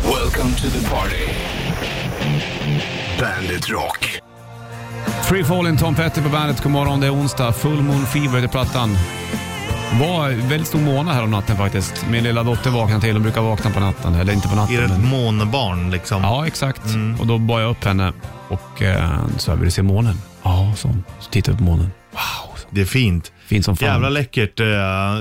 Welcome to the party. Bandit Rock. Free Falling, Tom Petty på bandet. God morgon, det är onsdag. Full Moon Fever heter plattan. var väldigt stor måna här om natten faktiskt. Min lilla dotter vaknade till. Hon brukar vakna på natten. Eller inte på natten. Är det men- ett månbarn liksom? Ja, exakt. Och då bar jag upp henne och eh, sa, vill du se månen? Ja, så. Så tittade jag på månen. Wow, så. Det är fint. fin som fan. Jävla läckert. eh,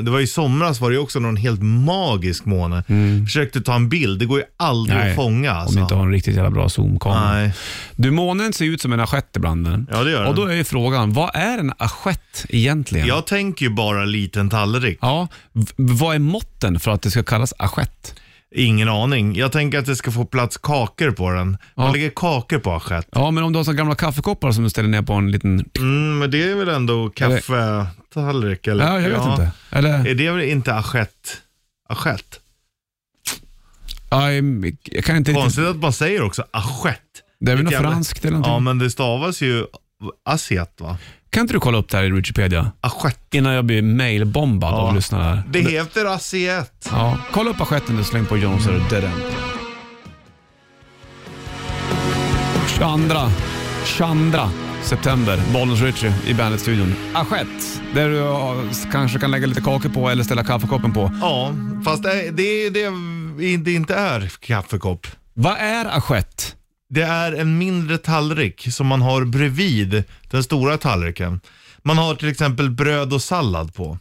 Det var i somras var det ju också någon helt magisk måne. Försökte ta en bild, det går ju aldrig Mm. Nej, att fånga Om alltså. du inte har en riktigt jävla bra zoomkamera. Nej. Du, månen ser ut som en assiett ibland. den. Ja, det gör Och då den. är ju frågan, vad är en assiett egentligen? Jag tänker ju bara liten tallrik. Ja, v- vad är måtten för att det ska kallas assiett? Ingen aning. Jag tänker att det ska få plats kakor på den. Man Ja. lägger kakor på assiett. Ja, men om du har så gamla kaffekoppar som du ställer ner på en liten... Mm, men det är väl ändå kaffetallrik eller? Ja, jag vet inte. Eller, Är det väl inte assiett? Assiett? ja, jag- jag kan inte riktigt... Konstigt att man säger också assiett. Det är väl något Jävla- franskt eller någonting? Ja, men det stavas ju asiat va? Kan inte du kolla upp det här i Wikipedia? Assiett. Innan jag blir mailbombad av lyssnarna här. Det heter asiat. Ja, kolla upp assietten och släng på Jones och Dead End. 22, 22 september, Bollnäs Ritchie i Bandet-studion. Assiett, där du ja, kanske kan lägga lite kakor på eller ställa kaffekoppen på. Ja, fast det, det, det, det inte är kaffekopp. Vad är assiett? Det är en mindre tallrik som man har bredvid den stora tallriken. Man har till exempel bröd och sallad på.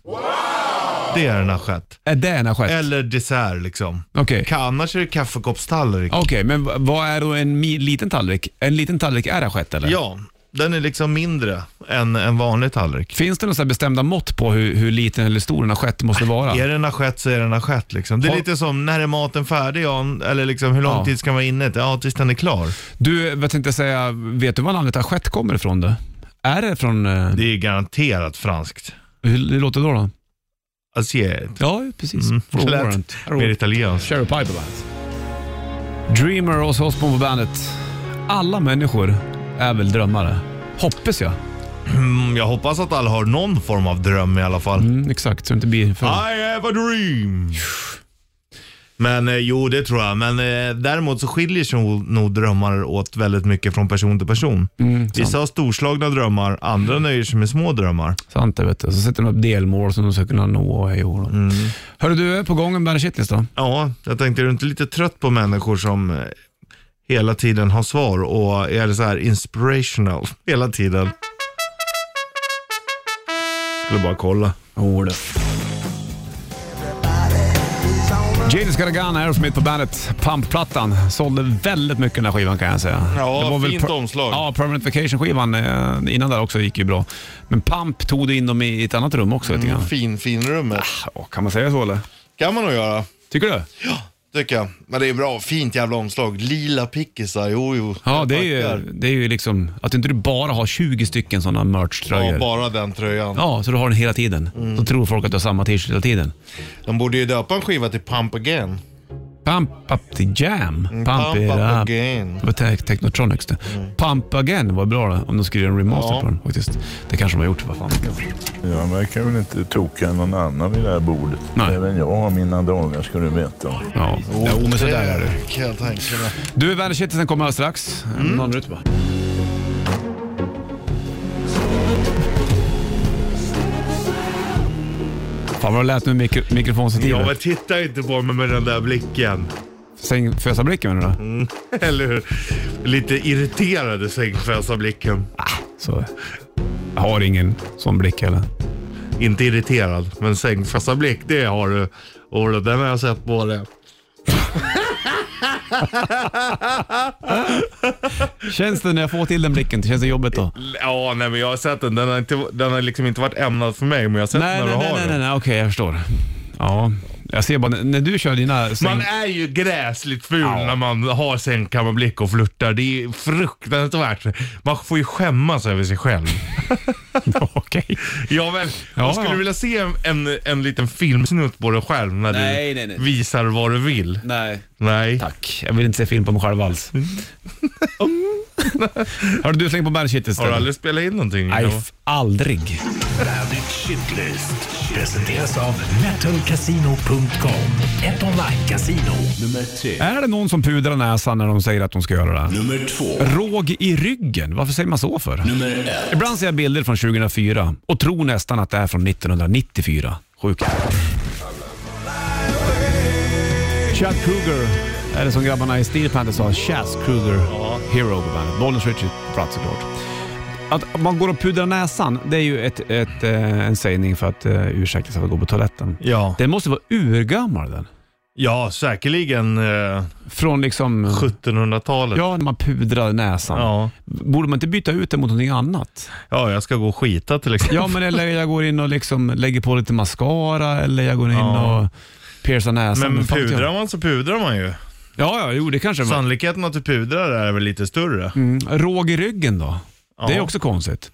Det är en assiett. Är det en assiett? Eller dessert liksom. Okej. Ka- Annars är det kaffekoppstallrik. Okej, men v- vad är då en mi- liten tallrik? En liten tallrik är assiett eller? Ja, den är liksom mindre än en vanlig tallrik. Finns det några så här bestämda mått på hur, hur liten eller stor en assiett måste vara? Är det en assiett så är det en assiett liksom. Det är Har- lite som, när är maten färdig Jan? Eller liksom, hur lång Ja. tid ska man vara inne? Ja, tills den är klar. Du, vad tänkte jag säga, vet du var namnet assiett kommer ifrån? Då? Är det från... Eh, Det är garanterat franskt. Hur, hur låter det då? då? Asiet. Ja, precis. Mm, Från lät Warrant. Mer italienskt. Cherry Piper Bandet. Dreamer och Osbourne på bandet. Alla människor är väl drömmare? Hoppas jag. Mm, jag hoppas att alla har någon form av dröm i alla fall. Mm, exakt, så det inte blir för... I have a dream. Men eh, jo, det tror jag. Men eh, däremot så skiljer sig nog- nog drömmar åt väldigt mycket från person till person. Mm. Vissa har storslagna drömmar, andra nöjer sig med små drömmar. Sant det vet du. Så sätter de upp delmål som de ska kunna nå. Och hej och då. Hörru du, är på gång en Bandet Shitlist då? Ja, jag tänkte, är du inte lite trött på människor som eh, hela tiden har svar och är så här inspirational hela tiden? Skulle bara kolla. Jo du. James Gargan, Aerosmith på bandet. Pumpplattan. Sålde väldigt mycket den här skivan kan jag säga. Ja, väl fint per- omslag. Ja, Permanent Vacation-skivan eh, innan där också gick ju bra. Men Pump tog det in dem i ett annat rum också lite grann. Fin, fin rummet. Ja, kan man säga så eller? Kan man nog göra, Tycker du? tycker jag. Men det är bra, fint jävla omslag. Lila pickisar, jo jo. Ja, Jag det är, ju, tackar. det är ju liksom att inte du bara har 20 stycken sådana merch-tröjor. Ja, bara den tröjan. Ja, så du har den hela tiden. Mm. Då tror folk att du har samma t-shirt hela tiden. De borde ju döpa en skiva till Pump Again. Pump up the jam. Pump, Mm, Pump it up up. again. Mm. Det var Te- Technotronics det. Pump again var bra det, om de skulle göra en remaster Ja. på den faktiskt. Det kanske de har gjort, vad fan. Jag verkar väl inte toka än någon annan vid det här bordet. Nej. Även jag har mina dagar ska du veta. Ja. Jo, men sådär är det. Kan jag tänka mig. Du, väderkittelsen kommer alldeles strax. Mm. Någon minut bara. Fan vad det lät nu med mikro Ja, men mikrofonstativet. titta inte på mig med den där blicken. Säng Fösablicken menar du? Mm. då? Eller hur? Lite irriterade sängfösarblicken. Så. Jag har ingen sån blick heller. Inte irriterad, men sängfösarblick, det har du. Och den har jag sett på dig. Känns det när jag får till den blicken? Känns det jobbigt då? Ja, nej men jag har sett den. Den har, inte, den har liksom inte varit ämnad för mig, men jag har sett Nej, när nej, du nej, har nej, nej, den. nej, okej, jag förstår. Ja, jag ser bara när du kör dina säng... Man är ju gräsligt ful när man har sängkammarblick och flörtar. Det är fruktansvärt. Man får ju skämmas över sig själv. Okej. Ja, men Ja, jag skulle ja. vilja se en, en, en liten filmsnutt på dig själv när Nej, du nej, nej. visar vad du vill. Nej. Nej. Mm. Tack. Jag vill inte se film på mig själv alls. Hörru du, släng på bandshit Har du istället. aldrig spelat in någonting? Nej, f- aldrig. Bandit Shitlist presenteras av metalcasino.com. Ett online-casino. Nummer tre. Är det någon som pudrar näsan när de säger att de ska göra det? Nummer två. Råg i ryggen, varför säger man så för? Nummer ett. Ibland ser jag bilder från 2004 och tror nästan att det är från 1994. Sjukt. Chad Kruger är det som grabbarna i Steel Panther sa. Chas Kruger, Hero på bandet. Bollnäs Richie Pratt såklart. Att man går och pudrar näsan, det är ju ett, ett, eh, en sägning för att eh, ursäkta sig för att gå på toaletten. Ja. Den måste vara urgammal den. ja, säkerligen eh, Från liksom... 1700-talet. Mm. Ja, när man pudrar näsan. Ja. Borde man inte byta ut det mot någonting annat? ja, jag ska gå och skita till exempel. Ja, men eller jag går in och liksom lägger på lite mascara eller jag går in Ja. och piercar näsan. Men fan vet jag. pudrar man så pudrar man ju. Ja, ja, jo det kanske det var. Sannolikheten att du pudrar är väl lite större. Mm. Råg i ryggen då? Det är Ja. också konstigt.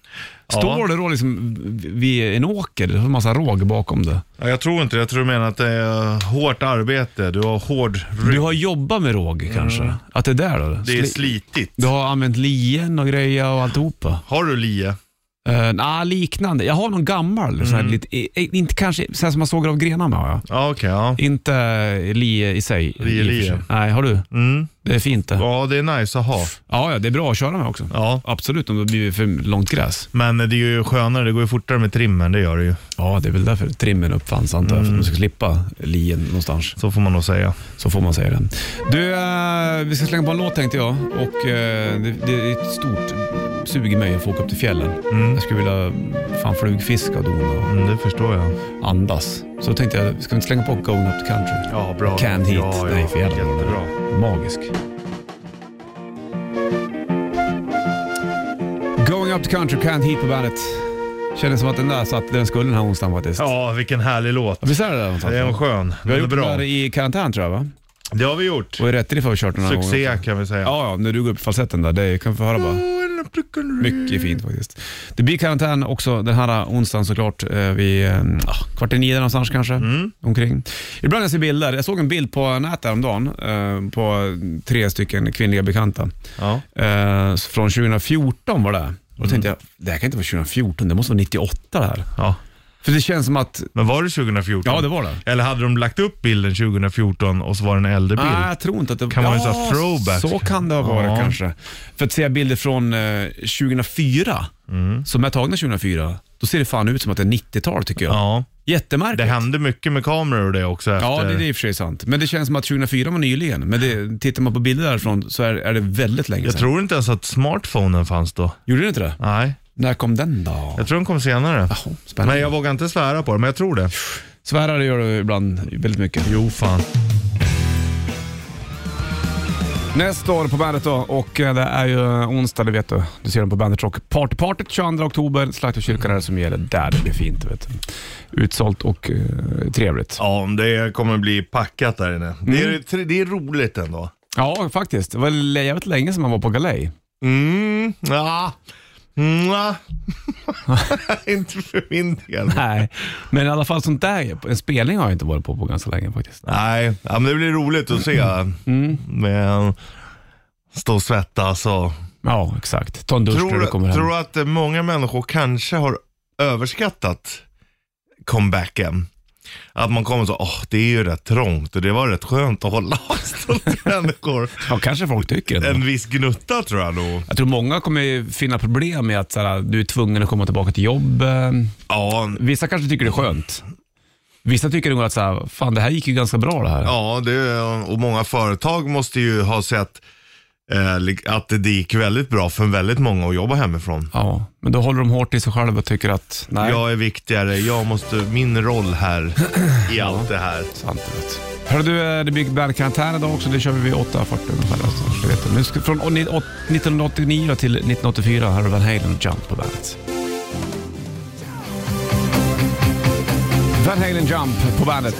Står det då liksom vid en åker, det är en massa råg bakom det. Ja, jag tror inte det. Jag tror du menar att det är hårt arbete. Du har hård rygg. Du har jobbat med råg kanske? Att det är där då? Mm. Det är Sli- slitigt. du har använt lien och grejer och alltihopa? Har du lie? Uh, nah, liknande. Jag har någon gammal, sån Mm. här lite, i- i- inte kanske sån här som man sågar av grenarna har jag. Ja, okej. ja. Inte lie i sig. Lie, i och för lie. sig. Nej, har du? Mm. Det är fint det. Ja, ja, det är nice att ha. ja, det är bra att köra med också. Ja. Absolut, om det blir för långt gräs. Men det är ju skönare. Det går ju fortare med trimmen. Det gör det ju. Ja, det är väl därför trimmen uppfanns antar jag, för att man ska slippa lien någonstans. Så får man nog säga. Så får man säga den. Du, eh, vi ska slänga på en låt tänkte jag och eh, det, det är ett stort sug i mig att få åka upp till fjällen. Jag skulle vilja fan flugfiska och dona och Mm, det förstår jag. andas. Så tänkte jag, ska vi inte slänga på Going Up the Country? Ja, bra. Canned Heat. Ja, ja. Nej, för jävla bra. Jättebra. Magisk. Going Up the Country, Can't Heat på bandet. Kändes som att den där satt där den skulle den här onsdagen faktiskt. Ja, vilken härlig låt. Visst är det det? någonstans? Det är en skön. Vi Den har är gjort bra. den där i karantän tror jag va? Det har vi gjort. Och i Rätterif har vi kört den några gånger. Succé kan vi säga. Ja, ja, när du går upp i falsetten där, det kan vi få höra bara. Mycket fint faktiskt. Det blir karantän också den här onsdagen såklart, eh, vid eh, ah, kvart i nio någonstans kanske. Mm. Omkring. Ibland när jag ser bilder, jag såg en bild på nätet häromdagen eh, på tre stycken kvinnliga bekanta. Ja. Eh, så från 2014 var det. Och då Mm. tänkte jag, det här kan inte vara 2014, det måste vara 98 det här. ja. För det känns som att, Men var det 2014? ja det var det. Eller hade de lagt upp bilden 2014 och så var det en äldre bild? Nej, Ah, jag tror inte att det Kan vara en sån här throwback. Så kan det ha varit Ja. kanske. För att se bilder från eh, 2004, Mm. som är tagna 2004, då ser det fan ut som att det är 90-tal tycker jag. Ja. Det Jättemärkligt. hände mycket med kameror och det också efter. Ja, det, det är i och för sig sant. Men det känns som att 2004 var nyligen. Men det, tittar man på bilder därifrån så är, är det väldigt länge Jag sedan. tror inte ens att smartphonen fanns då. Gjorde det inte det? Nej, När kom den då? jag tror den kom senare. Jaha, spännande. Men jag vågar inte svära på det, men jag tror det. Svärar gör du ibland väldigt mycket. Jo, fan. Nästa år på bandet då och eh, det är ju eh, onsdag, det vet du. Du ser dem på Bandet Rock. Partypartyt 22 oktober, Slakterkyrkan är det som gäller där. Det blir fint. Vet du. Utsålt och eh, trevligt. Ja, om det kommer bli packat där inne. Det, är, tre- det är roligt ändå. Ja, faktiskt. Det var l- jävligt länge sedan man var på galej. Mm, ja. Mm, ja. inte för min del. Nej, men i alla fall sånt där. En spelning har jag inte varit på på ganska länge faktiskt. Nej, ja, men det blir roligt att se. Mm. Men stå och svettas och... Ja, exakt. Ta en dusch när Tror, du kommer hem. tror du att eh, många människor kanske har överskattat comebacken? Att man kommer så, åh det är ju rätt trångt och det var rätt skönt att hålla avstånd till människor. Ja, kanske folk tycker det. En viss gnutta tror jag nog. Jag tror många kommer ju finna problem med att så här, du är tvungen att komma tillbaka till jobbet. Ja, Vissa kanske tycker det är skönt. Vissa tycker nog att så här, fan det här gick ju ganska bra det här. ja det, och många företag måste ju ha sett eh, li- att det gick väldigt bra för väldigt många att jobba hemifrån. Ja, men då håller de hårt i sig själva och tycker att nej, Jag är viktigare, jag måste, min roll här i allt det här. sant det vet. Hörru du, eh, det blir bandkarantän idag också. Det kör vi vid 8.40 ungefär. alltså, så du vet det. Nu ska, från å- ni- å- 1989 till 1984 har du Van Halen och Jump på bandet. Van Halen Jump på bandet.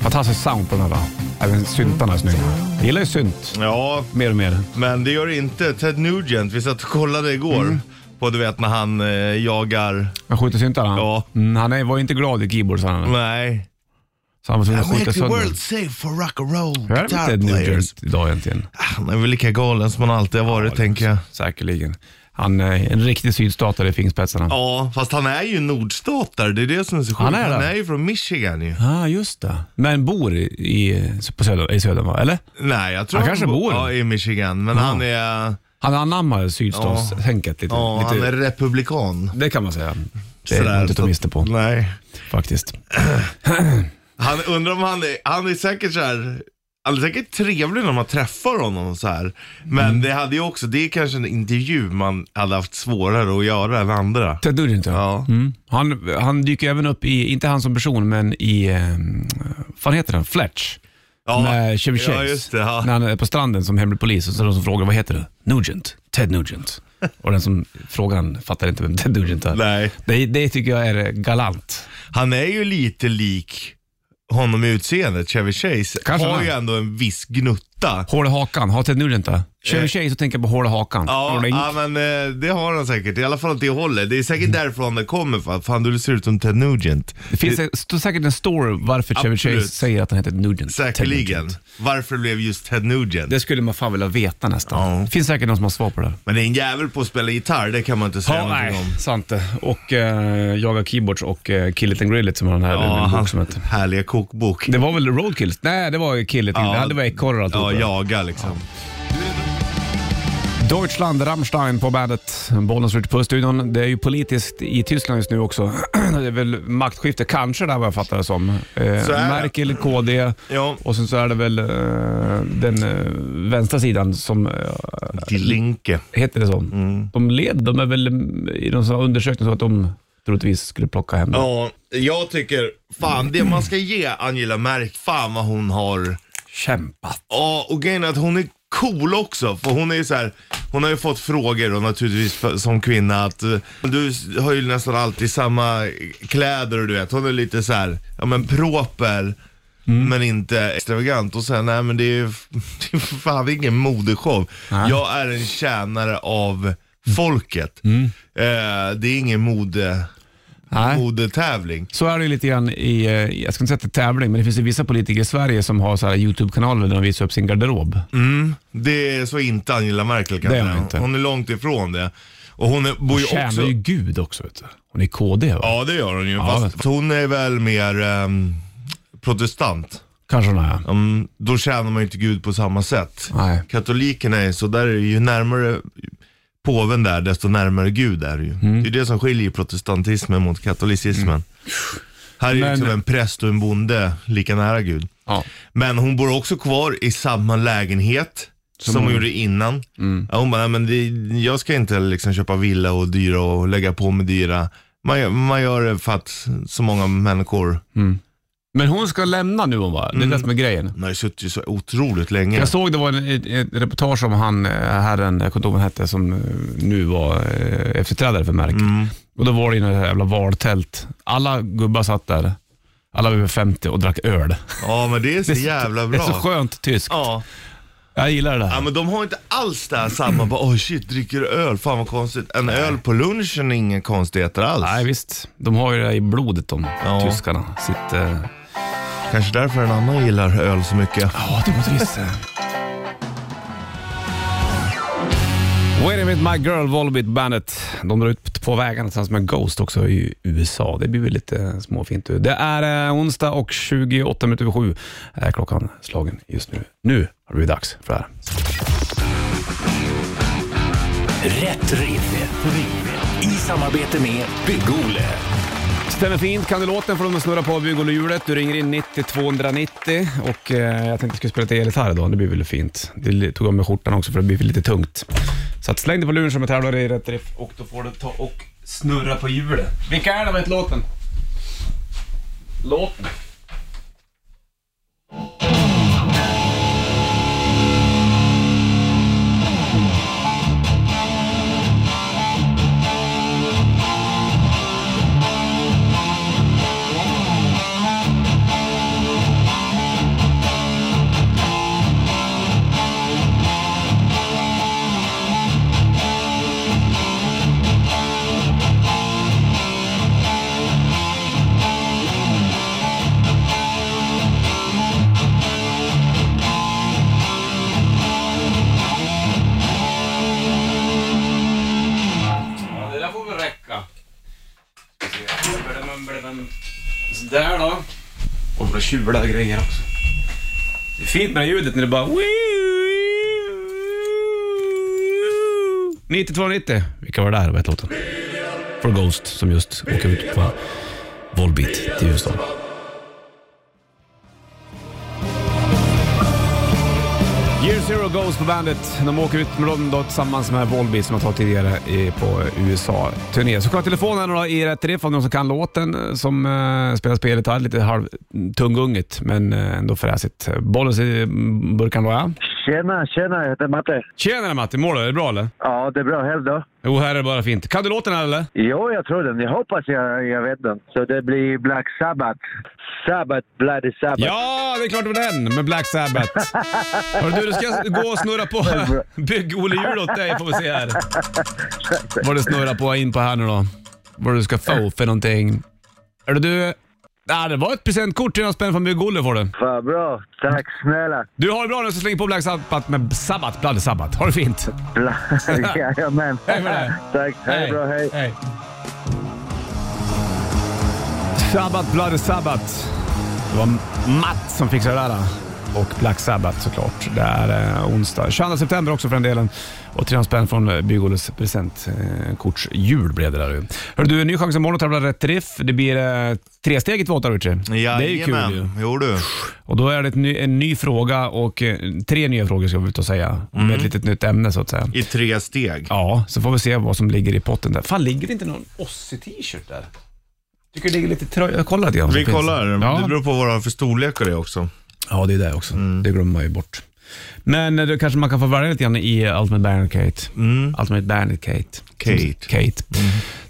Fantastiskt sound på den här. va? Även syntarna är snygga. Jag gillar ju synt Ja, mer och mer. Men det gör det inte Ted Nugent. Vi satt och kollade igår Mm. på du vet när han eh, jagar. Han skjuter syntar han. Ja. Mm, han är, var ju inte glad i keyboards han. Nej. Så han var tvungen att I skicka make the sönder den. world safe for rock and roll Hur är det med guitar Ted players. Nugent idag egentligen? Ah, Han är väl lika galen som han alltid har varit, tänker jag. Säkerligen. Han är en riktig sydstatare i fingerspetsarna. Ja, Ja, fast han är ju nordstatare. Det är det som är så sjukt. Han är han det. är ju från Michigan ju. ah, just det. Men bor i, i- på södern, i södern va? Eller? Nej, jag tror Han kanske bo- bor. ja, i Michigan, men han är, Han anammar sydstatstänket lite. ja, lite han är republikan. Det kan man säga. Det Sådär, är inte så att ta miste på Nej. faktiskt. Han, undrar om han är, han är säkert så här. Han är säkert trevlig när man träffar honom så här. Men Mm. det hade ju också, det är kanske en intervju man hade haft svårare att göra än andra. Ted Nugent ja. Ja. Mm. Han, han dyker även upp i, inte han som person, men i, eh, vad heter han, Fletch? Ja. Med Chevy Chase. Ja, just det. Ja. När han är på stranden som hemlig polis och så är det de som frågar vad heter du? Nugent. Ted Nugent. Och den som frågar han fattar inte vem Ted Nugent är. Nej. Det, det tycker jag är galant. Han är ju lite lik honom i utseendet, Chevy Chase. Kanske har han. ju ändå en viss gnutta. Hål i hakan, har Ted Nugent det? Kör en tjej så tänker jag på hål i hakan. Har Eh. Ja, du ja ringt? Mm. men eh, det har han säkert. I alla fall åt det hållet. Det är säkert därifrån det kommer. För att fan, du ser ut som Ted Nugent. det finns det, står säkert en story varför Chevy Absolut. Chase säger att han heter Nugent. Ted Säkerligen. Nugent. Varför blev just Ted Nugent? Det skulle man fan vilja veta nästan. Ja. Det finns säkert någon som har svar på det. Men det är en jävel på att spela gitarr, det kan man inte säga Ja, någonting nej, om. sant det. Och eh, jaga keyboards och eh, Kill it and grill it som han här Ja, ja, bok hans som heter. härliga kokbok. Det var väl roadkills? Nej, det var Kill it and grill it. Det var ekorre och Ja, alltihopa. jaga liksom. Deutschland, Rammstein på bandet. Bollen slår på studion. Det är ju politiskt i Tyskland just nu också. Det är väl maktskifte, kanske där vad jag fattar det som. Eh, Så är det. Merkel, KD Ja. och sen så är det väl eh, den eh, vänstra sidan som, eh, Die Linke. heter det så? Mm. De led, de är väl mm, i någon sån här undersökning så att de troligtvis skulle plocka hem det. Ja, jag tycker, fan det man ska ge Angela Merkel, fan vad hon har Kämpat. Ja, och grejen är att hon är cool också. För hon är ju så här, hon har ju fått frågor och naturligtvis för, som kvinna att eh, du s- har ju nästan alltid samma kläder och du vet. Hon är lite så här, ja men proper. Mm. Men inte extravagant och sen, nej men det är ju det är för fan ingen modeshow. Jag är en tjänare av Mm. folket. Eh, det är ingen mode, Nej. modetävling. Så är det ju lite grann i, eh, jag ska inte säga att det är tävling, men det finns ju vissa politiker i Sverige som har så här YouTube-kanaler där de visar upp sin garderob. Mm. Det är så inte Angela Merkel kan Det är jag säga. hon inte. Hon är långt ifrån det. Och hon är, bor ju tjänar också... ju Gud också. Vet du. Hon är KD va? Ja, det gör hon ju. Fast hon är väl mer ehm, protestant. Kanske hon är. ja. Mm, då tjänar man ju inte Gud på samma sätt. Nej. Katolikerna är så där är det ju närmare påven där, desto närmare Gud är det ju. Mm. Det är det som skiljer protestantismen mot katolicismen. Här är ju Men- liksom en präst och en bonde lika nära Gud. Ja. Men hon bor också kvar i samma lägenhet som, hon gjorde innan. Mm. Ja, hon bara, "Nej, men det, jag ska inte liksom köpa villa och dyra och lägga på med dyra. Man, gör- man gör det för att så många människor, Men hon ska lämna nu hon va? Mm. Det är det som är grejen. man har ju suttit ju så otroligt länge. Jag såg det var en, ett, ett reportage om han, eh, herren, jag kommer inte ihåg vad han hette, som eh, nu var eh, efterträdare för Merkel. Mm. Och då var det ju något jävla valtält. Alla gubbar satt där, alla över 50 och drack öl. Ja men det är så jävla Det är så bra. skönt tyskt. Ja. Jag gillar det ja, där. men de har inte alls det här samma, bara oj shit, dricker du öl? Fan vad konstigt. En öl på lunchen är inga konstigheter alls. Nej visst, de har ju det i blodet de Ja. tyskarna. Sitt, eh, Kanske därför en annan gillar öl så mycket. Ja, det måste visst Wait a minute my girl, Volbeat Bandet. De drar ut på vägarna tillsammans med Ghost också i USA. Det blir väl lite småfint. du. Det är eh, onsdag och 28 minuter över sju är klockan slagen just nu. Nu har det blivit dags för det här. Rätt riff. Rätt riff. I samarbete med Bygg-Ole. Stämmer fint. Kan du låten får de snurra på bygghjulet. Du ringer in 90 290 och eh, jag tänkte att jag skulle spela lite elgitarr idag. Det blir väl fint. Det li- tog jag med skjortan också för det blir lite tungt. Så att släng dig på luren som jag tävlar i rätt riff och då får du ta och snurra på hjulet. Vilka är det med låten? Låten? Där då. Och det tjular och grejer också. Det är fint med det här ljudet när det bara... 9290. Vilka var det där? Vad hette låten? For Ghost som just åker ut på Volbeat till USA. Year Zero Ghost på bandet. De åker ut med dem då tillsammans med Volbeat som jag tagit tidigare i- på USA-turné. Så kolla telefonen då i rätt riff om någon som kan låten eh, som eh, spelar spelgitarr. Lite halvtunggunget men eh, ändå fräsigt. Bollens i mm, burkan då ja. Tjena, tjena, jag heter Matte. Tjenare Matti, mår du? Är det bra eller? Ja, det är bra. Själv då? Jo, här är det bara fint. Kan du låten här, eller? Jo, jag tror den. Jag hoppas jag, jag vet den. Så det blir Black Sabbath. Sabbath, Bloody Sabbath. Ja, det är klart det var den med Black Sabbath. Hörru du, du ska gå och snurra på bygg-Olle-hjul åt dig får vi se här. Vad du snurrar på in på här nu då. Vad du ska få för någonting. Hörru du, ah, det var ett presentkort, 300 spänn från bygg-Olle får du. Vad bra. Tack snälla. Du har det bra nu så släng på Black Sabbath med Sabbath, Bloody Sabbath. Ha det fint. Bla- Jajamän. Hej med dig. Tack. Hej, bra. Hej. Sabbat, Bloody Sabbat. Det var Matt som fixade det där. Och Black Sabbath såklart. Det är eh, onsdag. 22 september också för den delen. Och 300 spänn från eh, Bygg-Olles presentkortsjul blev det där ju. Hörru du, en ny chans imorgon att tävla rätt riff. Det blir eh, tresteget våtar, Richie. Jajamän. Det är ju kul ju. Jo du. Och då är det ett ny, en ny fråga och eh, tre nya frågor ska vi ut och säga. Mm. Med ett litet nytt ämne så att säga. I tre steg. Ja, så får vi se vad som ligger i potten där. Fan, ligger det inte någon Ossie-t-shirt där? Tycker det ligger lite tröja. Kolla lite grann. Vi kollar. Det Alltså, Ja. beror Mm. på vad du har för storlekar det också. ja, det är det också. Det glömmer man ju bort. Men eh, då kanske man kan få välja lite grann i Ultimate Bandit Kate. Ultimate Bandit Kate. Mm. Kate. Mm. Kate.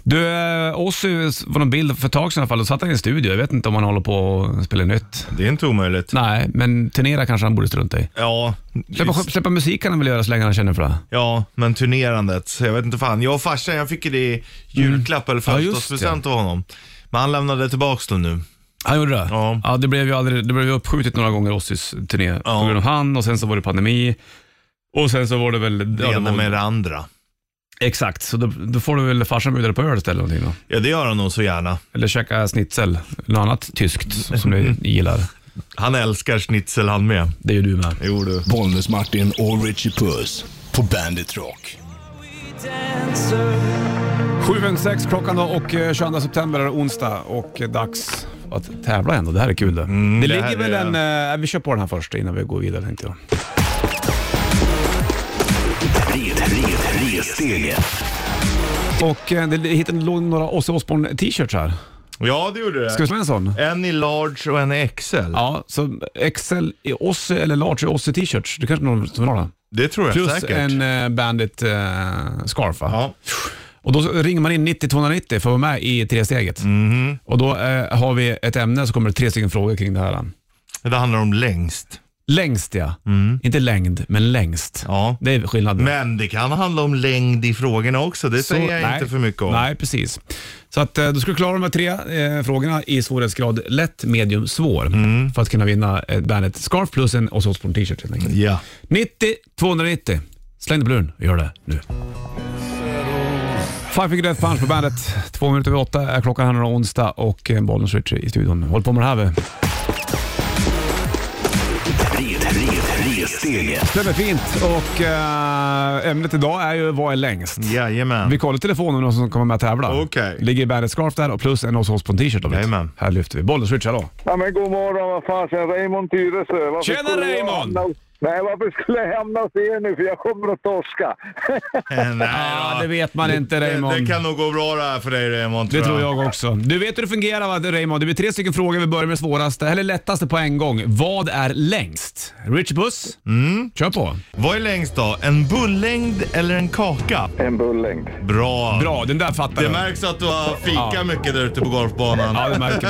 Du, eh, Ozzy var någon bild för ett tag sedan i alla fall. Då satt han i en studio. Jag vet inte om han håller på och spelar nytt. Det är inte omöjligt. Nej, men turnera kanske han borde strunta i. Ja, Släppa, släppa musik kan han väl göra så länge han känner för det. ja, men turnerandet. Jag vet inte fan. Jag och farsan, jag fick ju det i julklapp eller Mm. Ja, just födelsedagspresent av honom. Men han lämnade tillbaka dem nu. Han gjorde det? Ja. ja det, blev ju aldrig, det blev ju uppskjutet några gånger, Ossis turné, Ja. på grund av han och sen så var det pandemi. Och sen så var det väl... Det ja, det ena var, med det andra. Exakt, så då, då får du väl farsan bjuda dig på öl istället eller någonting då. Ja, det gör han nog så gärna. Eller käka schnitzel, något annat tyskt som du gillar. Han älskar schnitzel han med. Det gör du med. Jo du. Bollnäs-Martin och Richie Puss på Bandit Rock. 7.06 klockan då och eh, 22 september är det onsdag och eh, dags att tävla ändå. Det här är kul det. det Mm, det här ligger väl är- en... eh, vi kör på den här först innan vi går vidare tänkte jag. Tre, tre, tre steget. Och eh, det hittade, låg några Ozzy Osbourne t-shirts här. Ja, det gjorde det. Ska vi slå en sån? En i large och en i XL. Ja, så XL i Ossi eller large i Ossi t-shirts. Det kanske är någon som har det. Det tror jag Plus säkert. en eh, Bandit eh, scarf va? Ja. Och då så ringer man in 90 290 för att vara med i tresteget. Mhm. Och då eh, har vi ett ämne så kommer det tre stycken frågor kring det här. Det handlar om längst. Längst ja. Inte längd, men längst. Mm. Ja. Det är skillnaden. Men det kan handla om längd i frågorna också. Det Så- säger jag nej. inte för mycket om. Nej, precis. Så att, eh, du ska du klara de här tre eh, frågorna i svårighetsgrad lätt, medium, svår Mm. för att kunna vinna eh, ett Bandit scarf plus en Ozzy Osbourne t-shirt helt enkelt. Ja. 90 290. Släng dig på luren och gör det nu. Five Finger Death Punch på bandet. Två minuter över åtta är klockan här nu då, onsdag och eh, Bollnäs Richie i studion. Håll på med det här vi. Tre, tre, tre steget. Stämmer fint och eh, ämnet idag är ju vad är längst? Jajamän. Vi kollar telefonen någon som kommer med och tävlar. Okej. Ligger i bandet scarf där och plus en hos oss på en t-shirt. om det. Jajamän. Här lyfter vi. Bollnäs Richie, hallå. Ja, men god morgon, vad fasen. Raymond Tyresö. Varför Tjena, skulle jag Raymond! hamna hos- Nej, varför skulle jag hamna hos er nu? För jag kommer att torska. Eh, Nej, Ja, då. det vet man inte Raymond. Det, det kan nog gå bra det här för dig Raymond. Det tror jag också. Du vet hur det fungerar va, Raymond? Det blir tre stycken frågor. Vi börjar med det svåraste, eller lättaste på en gång. Vad är längst? Rich Buss? Kör på. Vad är längst då? En bullängd eller en kaka? En bullängd. Bra. Bra, den där fattar Det jag. märks att du har fika Ja. mycket där ute på golfbanan. Ja, Ja. det märker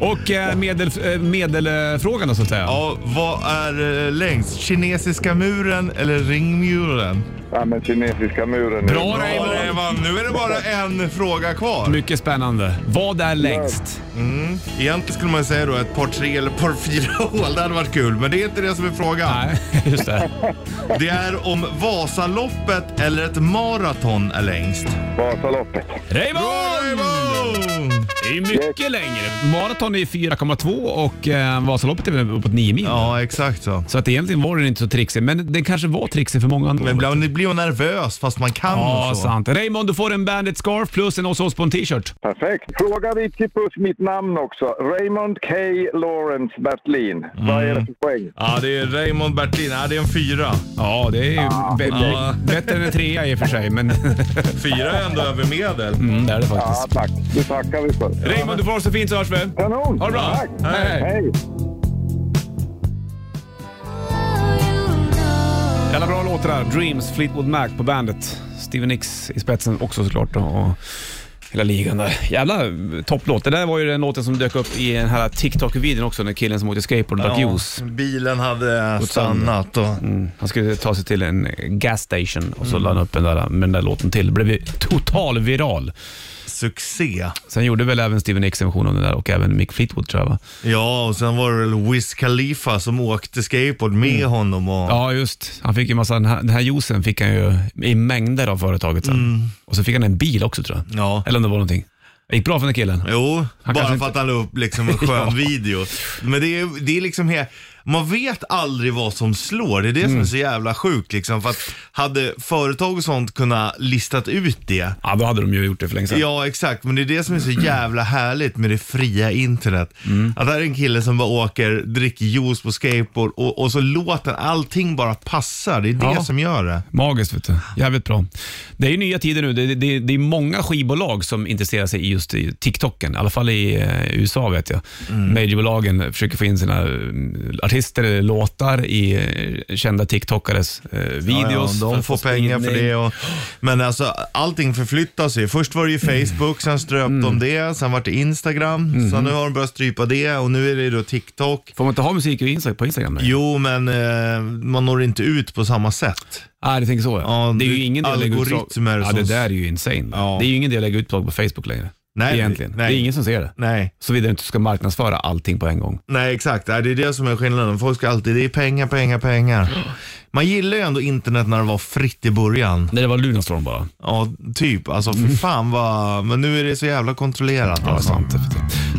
man. Och eh, medel, eh, medelfrågan då, så att säga. vad är eh, längst? Kinesiska muren eller ringmuren? Ja, men kinesiska muren. nu. Bra Ja, Raymond! Raymond, nu är det bara en fråga kvar. Mycket spännande. Vad är längst? Egentligen skulle man säga då ett par tre eller par fyra hål. Det hade varit kul, men det är inte det som är frågan. Nej, just det. Det är om Vasaloppet eller ett maraton är längst. Vasaloppet. Raymond! Raymond! I ju mycket längre. Maraton är 4,2 och eh, Vasaloppet är väl uppåt 9 mil. Ja, exakt så. Så att egentligen var den inte så trixig, men den kanske var trixig för många andra. Men ibland blir man nervös fast man kan Ja, och så. sant. Raymond, du får en Bandit-scarf plus en Åsa Osbourne-t-shirt. Perfekt. Fråga Ritchie Puss mitt namn också. Raymond K. Lawrence Bertlin. Vad är det Mm. för poäng? Ja, det är Raymond Bertlin. Ja, det är en fyra. Ja, det är ju be- Ja. bättre än en trea i och för sig, men Fyra är ändå över medel. mm, det är det faktiskt. Ja, tack. Det tackar vi för. Raymond, du får ha det så fint så hörs vi. Kanon! Ha det bra. Tack. Hej. Hej! Jävla bra låtar där. Dreams, Fleetwood Mac på bandet. Steven Nicks i spetsen också såklart då, och hela ligan där. Jävla eh, topplåt. Det där var ju den låten som dök upp i den här TikTok-videon också, när killen som åkte skateboard drack juice. Mm. bilen hade eh, stannat och... Han skulle ta sig till en gas station och så la han upp den där, med den där låten till. Blev ju total viral. Succé. Sen gjorde väl även Steven Nicks en version av den där och även Mick Fleetwood tror jag va? Ja, och sen var det väl Wiz Khalifa som åkte skateboard med honom och... Mm. Ja just, han fick ju massa, den här, den här juicen fick han ju i mängder av företaget sen. Och så fick han en bil också tror jag. Mm. Ja. Eller om det var någonting. Det gick bra för den killen. Jo, bara för kanske att han la upp liksom en skön video. Men det är, det är liksom här, man vet aldrig vad som slår. Det är det som är så jävla sjukt liksom. För att hade företag och sånt kunnat listat ut det. Ja, då hade de ju gjort det för länge sedan. Ja, exakt. Men det är det som är så jävla härligt med det fria internet. Att det här är en kille som bara åker, dricker juice på skateboard och, och så låter allting bara passa. Det är det Ja. som gör det. Magiskt, vet du. jävligt bra. Det är ju nya tider nu. Det, det, det är många skivbolag som intresserar sig i just i TikToken, i alla fall i eh, USA vet jag. Mm. Majorbolagen försöker få in sina eh, artister, eller låtar i eh, kända TikTokares eh, videos. Ja, för de att får få pengar för spridning. det. Och, men alltså, allting förflyttas ju. Först var det ju Mm. Facebook, sen ströp de det, sen var det Instagram, Mm-hmm. så nu har de börjat strypa det och nu är det då TikTok. Får man inte ha musik i Insta- på Instagram? Nej, Jo, men eh, man når inte ut på samma sätt. ah, det tänker så. Ja. Ja, det är det- ju ingen del att lägga ut algoritmer Ja, som- det där är ju insane. Ja. Det är ju ingen del att lägga ut på Facebook längre. Nej, Egentligen. nej. Det är ingen som ser det. Nej, Såvida du inte ska marknadsföra allting på en gång. nej exakt. Nej, Det är det som är skillnaden. Folk ska alltid, det är pengar, pengar, pengar. Man gillar ju ändå internet när det var fritt i början. Nej, det var Lunarstorm bara. Ja, typ. Alltså för fan vad... Men nu är det så jävla kontrollerat. Mm. Ja, Alltså. sant.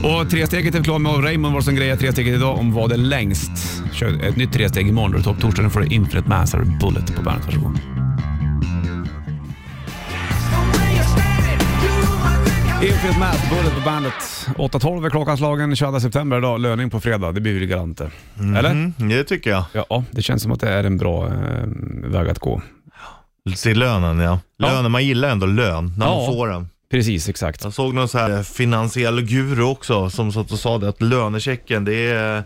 Och tresteget är vi klara med. Och Raymond var som grejade tresteget idag om vad det är längst. Kör ett nytt tresteg imorgon. Då är det topp torsdagen får du Infinite Master Bullet på bandet. Varsågod. Infinite Mass, Bullet på bandet. 8.12 är klockan slagen 22 september idag. Löning på fredag, det blir vi galant det. Eller? Mm, det tycker jag. Ja, det känns som att det är en bra eh, väg att gå. Till lönen ja. Lönen, man gillar ändå lön när Ja. man får den. Precis, exakt. Jag såg någon så här finansiell guru också som satt och sa det att lönechecken det är,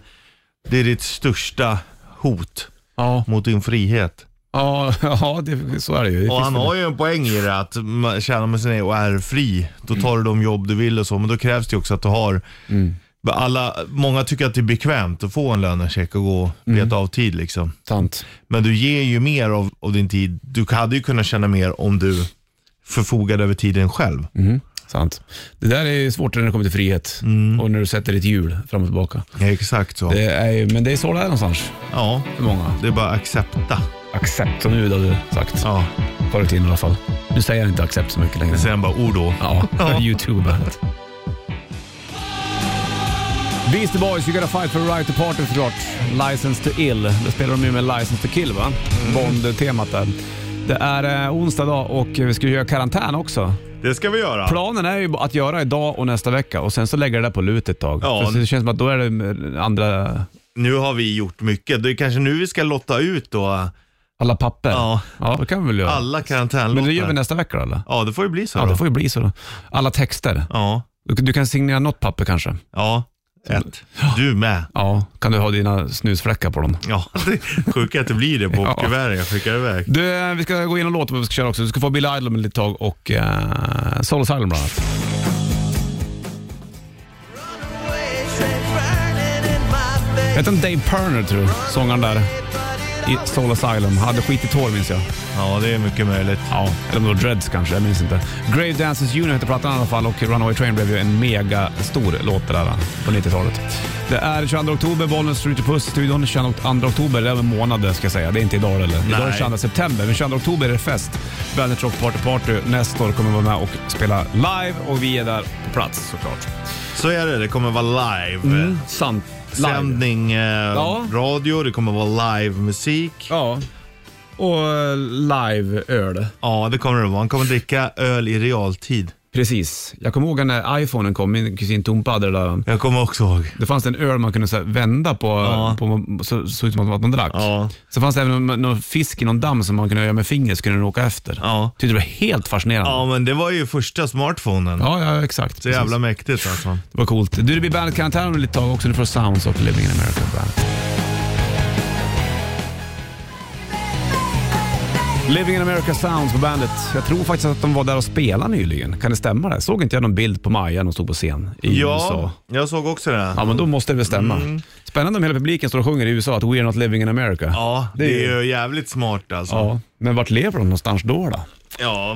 det är ditt största hot Ja, mot din frihet. ja, ja det, så är det ju. Det Och finns han väl- har ju en poäng i det att man- tjänar man sina e- och är fri, då tar du de jobb du vill och så, men då krävs det ju också att du har Mm. Alla, många tycker att det är bekvämt att få en lönecheck och gå och Mm. beta av tid liksom. Sant. Men du ger ju mer av, av din tid. Du hade ju kunnat tjäna mer om du förfogade över tiden själv. Sant. Det där är ju svårt när det kommer till frihet och när du sätter ditt hjul fram och tillbaka. Ja, exakt så. Det är, ju- men det är så det är någonstans Ja, för många. det är bara att accepta. Accept som nu hade sagt Ja, förut i alla fall. Nu säger jag inte accept så mycket längre. sen säger han bara ord då. Ja, YouTube. Beastie Boys, You Gotta Fight For a Right To Party såklart. License To Ill. Det spelar de ju med License To Kill va? Bond-temat där. Det är eh, onsdag idag och vi ska ju göra karantän också. Det ska vi göra. Planen är ju att göra idag och nästa vecka och sen så lägga det där på lut ett tag. Ja. För det känns som att då är det andra, nu har vi gjort mycket. Det är kanske nu vi ska lotta ut då alla papper. Ja. ja det kan vi väl göra. alla karantänlåtar. Men det gör vi nästa vecka då, eller? Ja, det får ju bli så Ja, då. det får ju bli så då. Alla texter. Ja, Du, du kan signera något papper kanske. ja. Ett. Du med. Ja, kan du ha dina snusfläckar på dem. Ja, det sjuka är att det blir det på Ja. kuvertet jag skickar iväg. Du, eh, vi ska gå igenom låten vad vi ska köra också. Du ska få Bill Idol med ett tag och uh, Soul Asylum bland annat. Hette han Dave Perner tror du? Sångaren där i Soul Asylum. Hade skitigt hår minns jag. Ja, det är mycket möjligt. Ja, eller om det var Dreads kanske, jag minns inte. Grave Dances Junior hette plattan i alla fall och Runaway Train blev ju en mega stor låt det där på 90-talet. Det är 22 oktober, Bollnäs Ritchie Puss i studion. 22 oktober, det är en månad ska jag säga. Det är inte idag eller? Idag är det Nej. 22 september, men 22 oktober är det fest. Bandet Rock Party Party nästa år kommer vara med och spela live och vi är där på plats såklart. Så är det, det kommer vara live. Mm, sant. Live. Sändning, eh, Ja. radio, det kommer vara live musik. Ja. Och eh, live-öl. Ja, det kommer det vara. Han kommer dricka öl i realtid. Precis. Jag kommer ihåg när iPhonen kom, min kusin Tompa hade det där. Jag kommer också ihåg. Det fanns en öl man kunde så här, vända på, Ja. på så, såg ut som att man drack. Ja. Så fanns det även någon, någon fisk i någon damm som man kunde göra med fingret så kunde den åka efter. Ja. Tyckte det var helt fascinerande. Ja, men det var ju första smartphonen. Ja, ja exakt. Så jävla mäktigt alltså. Det var coolt. Du, det blir Bandet Karantän om ett tag också. Nu får du Sounds of Living in America på Bandet. Living in America Sounds på bandet. Jag tror faktiskt att de var där och spelade nyligen. Kan det stämma det? Såg inte jag någon bild på Maja när hon stod på scen i USA? Ja, jag såg också det. Ja, men då måste det väl stämma. Mm. Spännande om hela publiken står och sjunger i USA att “We're not living in America”. Ja, Det det är är, ju- ju jävligt smart alltså. Ja. Ja. Men vart lever de någonstans då? då?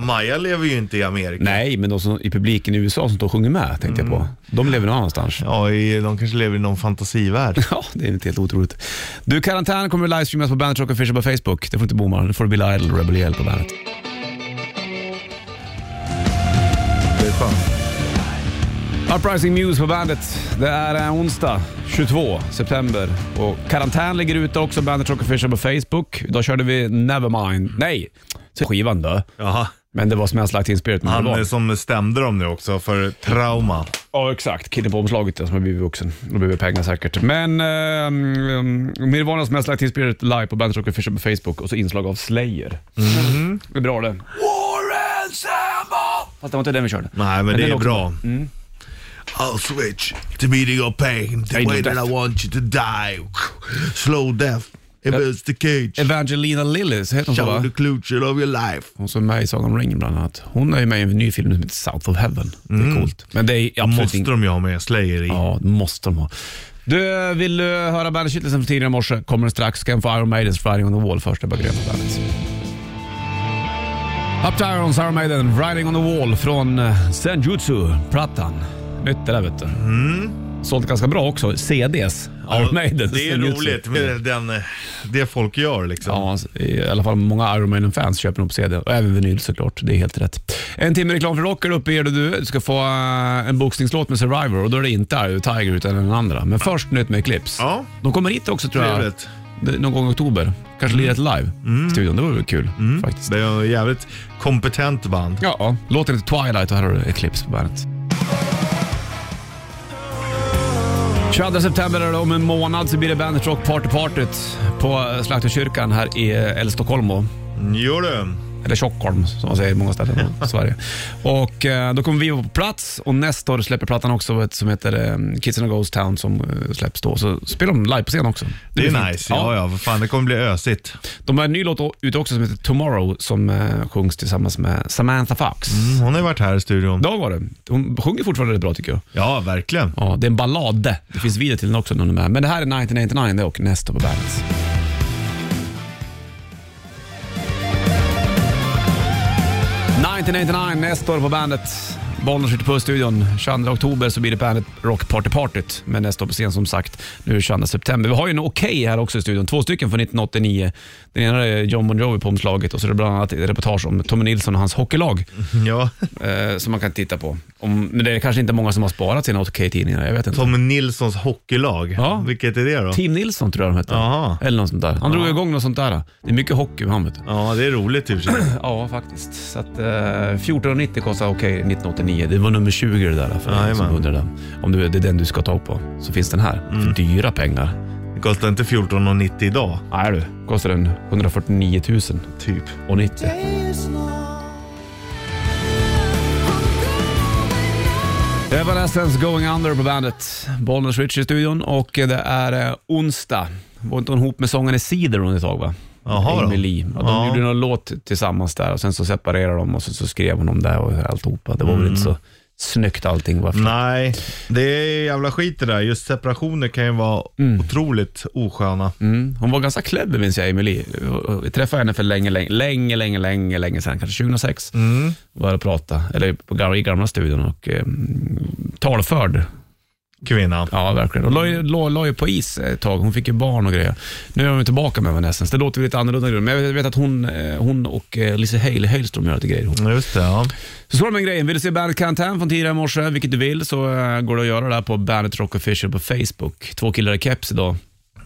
Maja lever ju inte i Amerika. Nej, men de som, i publiken i USA som står och sjunger med, tänkte jag på. De lever någon annanstans. Mm. Ja, i, de kanske lever i någon fantasivärld. Ja, det är inte helt otroligt. Du, karantän kommer att livestreamas på Bandet Rock Official på Facebook. Det får du inte bomma. Nu får du Bill Idol och Rebel Yell på bandet. Det är skönt. Uprising Muse på bandet. Det är en onsdag 22 september och karantän ligger ute också. Bandet Rock Official på Facebook. Idag körde vi Nevermind. Nej, så skivan då. Jaha. Men det var Smells Like Teen Spirit med Han Nirvana. eh, som stämde dem nu också för trauma. Ja, exakt. Killen på omslaget ja, som har blivit vuxen. De behöver pengar säkert. Men um, Nirvana som helst lagt in Spirit live på Bandet Rock Official på Facebook och så inslag av Slayer. Mhm. Det är bra det. Warren Sambo! Fast det var inte den vi körde. Nej, men, det den är också Mm. bra. I'll switch to meeting of pain, the Pain way of that death. I want you to die. Slow death, if it's the cage. Evangelina Lillis heter hon så Show va? the closure of your life. Hon som är med i Sagan om ringen bland annat. Hon är ju med i en ny film som heter South of Heaven. Det är coolt. Men det är absolut Mm. Måste ing- de ju ha med Slayer i. Ja, det måste de ha. Du, vill du höra bandet-kittelsen från tidigare i morse kommer den strax. Ska få Iron Maidens Riding on the Wall först. Det är bara grönt på bandet. Up to Irons, Iron Maiden, Riding on the Wall från eh, Senjutsu-plattan. Nytt det där vet du. Mm. Sålt ganska bra också. CDs. Iron Maiden. Det är Senjutsu. roligt med den, eh, det folk gör liksom. Ja, i alla fall många Iron Maiden-fans köper dem på CD och även vinyl såklart. Det är helt rätt. En timme reklam för rocker uppe ger du. Du ska få eh, en boxningslåt med Survivor och då är det inte Eye of the Tiger utan den andra. Men först nytt med Eclipse. Ja. De kommer hit också tror jag. Trevligt. Mm. Det- Någon gång i oktober. Kanske lirar ett live i studion. Det vore väl kul faktiskt. Det är ett jävligt kompetent band. Ja, låten heter Twilight och här har du Eclipse på bandet. 22 september är det om en månad så blir det Bandet Rock Party Partyt på Slakterkyrkan här i El Stockholm. Gör du? Eller Tjockholm som man säger i många ställen i Sverige. Och eh, då kommer vi vara på plats och nästa år släpper plattan också ett som heter eh, Kids in a Ghost Town som eh, släpps då. Så spelar de live på scen också. Det blir är fint. nice. Ja, ja, för fan det kommer bli ösigt. De har en ny låt ute också som heter Tomorrow som eh, sjungs tillsammans med Samantha Fox. Mm, Hon har ju varit här i studion. Dag var det. Hon sjunger fortfarande rätt bra tycker jag. Ja, verkligen. Ja, det är en ballad. Det finns video till den också när hon är med. Men det här är 1999 det och nästa på bandet. nästa år på bandet. Bollnäs skjuter på studion. 22 oktober så blir det bandet Rock Party Partyt med nästa år på scen som sagt. Nu är det 22 september. Vi har ju en okej här också i studion. Två stycken från 1989. Den ena är John Bon Jovi på omslaget och så är det bland annat ett reportage om Tommy Nilsson och hans hockeylag Ja. eh, som man kan titta på. Om, men det är kanske inte många som har sparat sina okej-tidningar. Jag vet inte. Tommy Nilssons hockeylag. Ja. Vilket är det då? Team Nilsson tror jag de hette. Jaha. Eller något sånt där. Han drog igång något sånt där. Det är mycket hockey med han vet du. Ja, det är roligt i och för sig. Ja, faktiskt. Så att, eh, 14,90 kostar okej 1989. Det var nummer 20 det där. För den som Jajamän. undrar det. Om du, det är den du ska ta på så finns den här. För dyra pengar. Det kostar inte 14,90 idag. Nej du, kostar den 149 000 Typ. och 90. Evanescence Going Under på bandet. Bollnäs Rich i studion och det är eh, onsdag. Var inte hon ihop med sångaren i Cider ett tag va? Jaha då. Amy Lee. Ja, de Ja. gjorde någon låt tillsammans där och sen så separerade de och sen så skrev hon om det och alltihopa. Det var väl inte så snyggt allting. Varför? Mm. Nej, det är jävla skit det där. Just separationer kan ju vara otroligt osköna. Mm. Hon var ganska clever minns jag, Emily. Vi träffade henne för länge, länge, länge, länge, länge, länge sedan. Kanske 2006. Mm. Var och pratade, eller på gamla, i gamla studion och eh, talförd. kvinna. Ja, verkligen. Och la, ju- la, la ju på is ett tag. Hon fick ju barn och grejer. Nu är hon ju tillbaka med Evanescence. Det låter ju lite annorlunda nu, men jag vet- vet att hon, eh, hon och eh, Lise Hale Hellström gör lite grejer ihop. Just det, ja. Så så är det med grejen. Vill du se Bandet Countdown från tidigare i morse, vilket du vill, så eh, går det att göra det här på Bandet Rock Official på Facebook. Två killar i keps idag.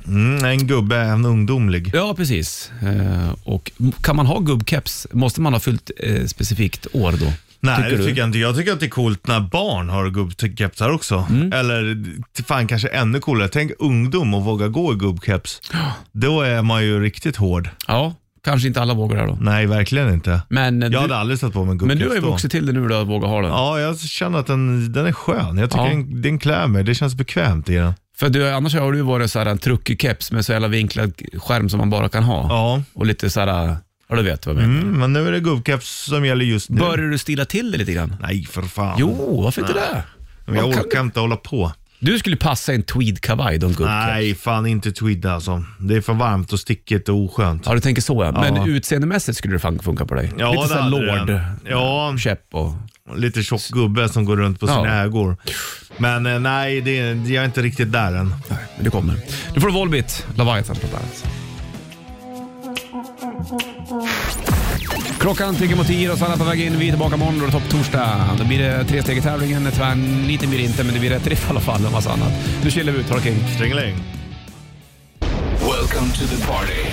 Mm, en gubbe, en ungdomlig. Ja, precis. Eh, och m- kan man ha gubbkeps? Måste man ha fyllt eh, specifikt år då? Nej, Tycker det du? tycker jag inte. Jag tycker att det är coolt när barn har gubbkepsar också. Mm. Eller till fan kanske ännu coolare. Tänk ungdom och våga gå i gubbkeps. Då är man ju riktigt hård. Ja, kanske inte alla vågar det här då. Nej, verkligen inte. Men, eh, Jag du, hade aldrig satt på mig en men gubbkeps du har ju då. vuxit till det nu då, att våga ha det. Ja, jag känner att den, den är skön. Jag tycker Ja. den, den klär mig. Det känns bekvämt i den. För du, annars har du ju varit så här en truckig keps med så jävla vinklad skärm som man bara kan ha. Ja, Och lite så här, ja du vet vad jag menar. mm, men nu är det gubbkeps som gäller just nu. Börjar du stila till det lite grann? Nej, för fan. Jo, varför inte det? men jag vad kan orkar inte hålla på. Du skulle passa i en tweedkavaj, de gubbkeps. Nej, fan inte tweed alltså. Det är för varmt och stickigt och oskönt. Ja, du tänker så ja. Men Ja. utseendemässigt skulle det fan funka på dig. Ja, lite så här det hade lord, det. Ja. käpp och... Lite tjock gubbe som går runt på sina Ja. ägor. Men eh, nej, det, jag är inte riktigt där än. Men det kommer. Nu får du Volbit, Leviathan på bandet. Klockan tickar mot tio och Sanna är på väg in. Vi är tillbaka imorgon och det är topp torsdag. Då blir det tre steg i tävlingen. Tvärniten blir det inte, men det blir rätt riff i alla fall och massa annat. Nu chillar vi ut, ha det kul. Stringeling. Welcome to the party.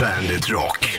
Bandit Rock.